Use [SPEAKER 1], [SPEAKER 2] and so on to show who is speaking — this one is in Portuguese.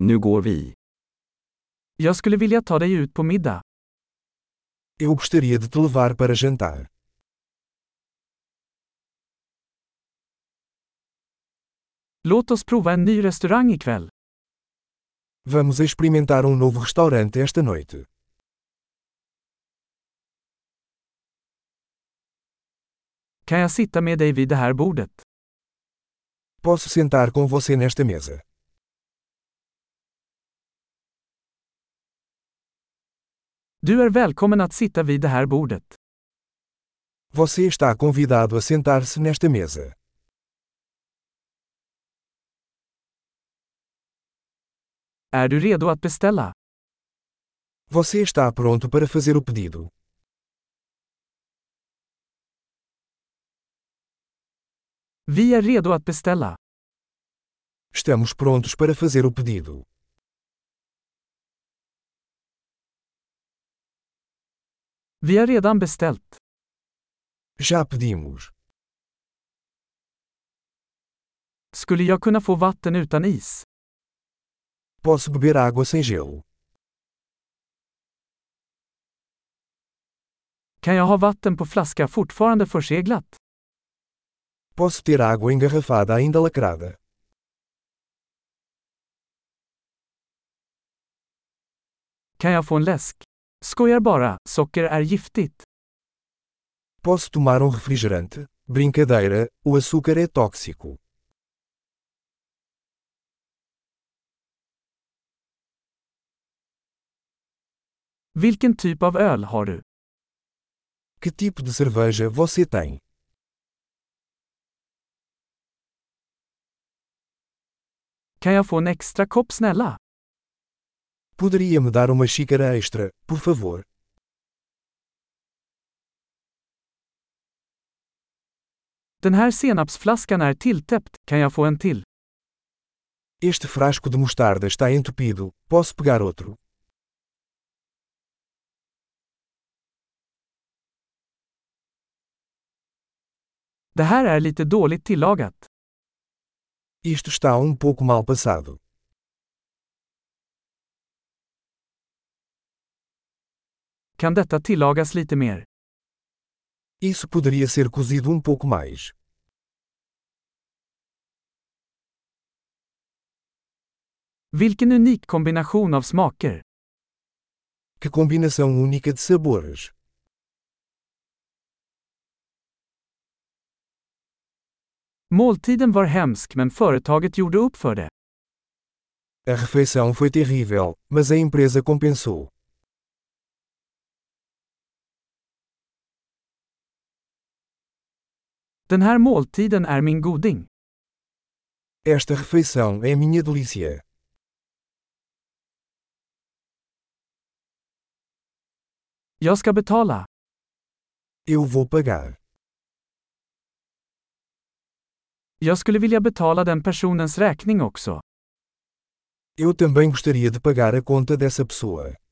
[SPEAKER 1] Nu går vi.
[SPEAKER 2] Jag skulle vilja ta dig ut på middag.
[SPEAKER 3] Eu gostaria de te levar para jantar.
[SPEAKER 2] Låt oss prova en ny restaurang ikväll.
[SPEAKER 3] Vamos experimentar um novo restaurante esta noite.
[SPEAKER 2] Kan jag sitta med dig vid det här bordet?
[SPEAKER 3] Posso sentar com você nesta mesa.
[SPEAKER 2] Du är välkommen att sitta vid det här bordet.
[SPEAKER 3] Você está convidado a sentar-se nesta mesa.
[SPEAKER 2] Är du redo att beställa?
[SPEAKER 3] Você está pronto para fazer o pedido.
[SPEAKER 2] Vi är redo att beställa.
[SPEAKER 3] Estamos prontos para fazer o pedido.
[SPEAKER 2] Vi har redan beställt.
[SPEAKER 3] Já pedimos.
[SPEAKER 2] Skulle jag kunna få vatten utan is?
[SPEAKER 3] Posso beber água sem gelo.
[SPEAKER 2] Kan jag ha vatten på flaska fortfarande förseglat?
[SPEAKER 3] Posso ter água engarrafada ainda lacrada.
[SPEAKER 2] Kan jag få en läsk? Skojar bara, socker är giftigt.
[SPEAKER 3] Posso tomar um refrigerante? Brincadeira, o açúcar é tóxico.
[SPEAKER 2] Vilken typ av öl har du?
[SPEAKER 3] Que tipo de cerveja você tem?
[SPEAKER 2] Kan jag få en extra kopp snälla?
[SPEAKER 3] Poderia me dar uma xícara extra, por favor?
[SPEAKER 2] Den här senapsflaskan är tilltäppt, kan jag få en till?
[SPEAKER 3] Este frasco de mostarda está entupido, posso pegar outro?
[SPEAKER 2] Det här är lite dåligt tillagat.
[SPEAKER 3] Isto está um pouco mal passado.
[SPEAKER 2] Kan detta tillagas lite mer?
[SPEAKER 3] Isso poderia ser cozido um pouco mais.
[SPEAKER 2] Vilken unik kombination av smaker!
[SPEAKER 3] Que combinação única de sabores!
[SPEAKER 2] Måltiden var hemsk men företaget gjorde upp för det.
[SPEAKER 3] A refeição foi terrível, mas a empresa compensou.
[SPEAKER 2] Den här måltiden är min goding.
[SPEAKER 3] Esta refeição é minha delícia.
[SPEAKER 2] Jag ska betala.
[SPEAKER 3] Eu vou pagar.
[SPEAKER 2] Jag skulle vilja betala den personens räkning också.
[SPEAKER 3] Eu também gostaria de pagar a conta dessa pessoa.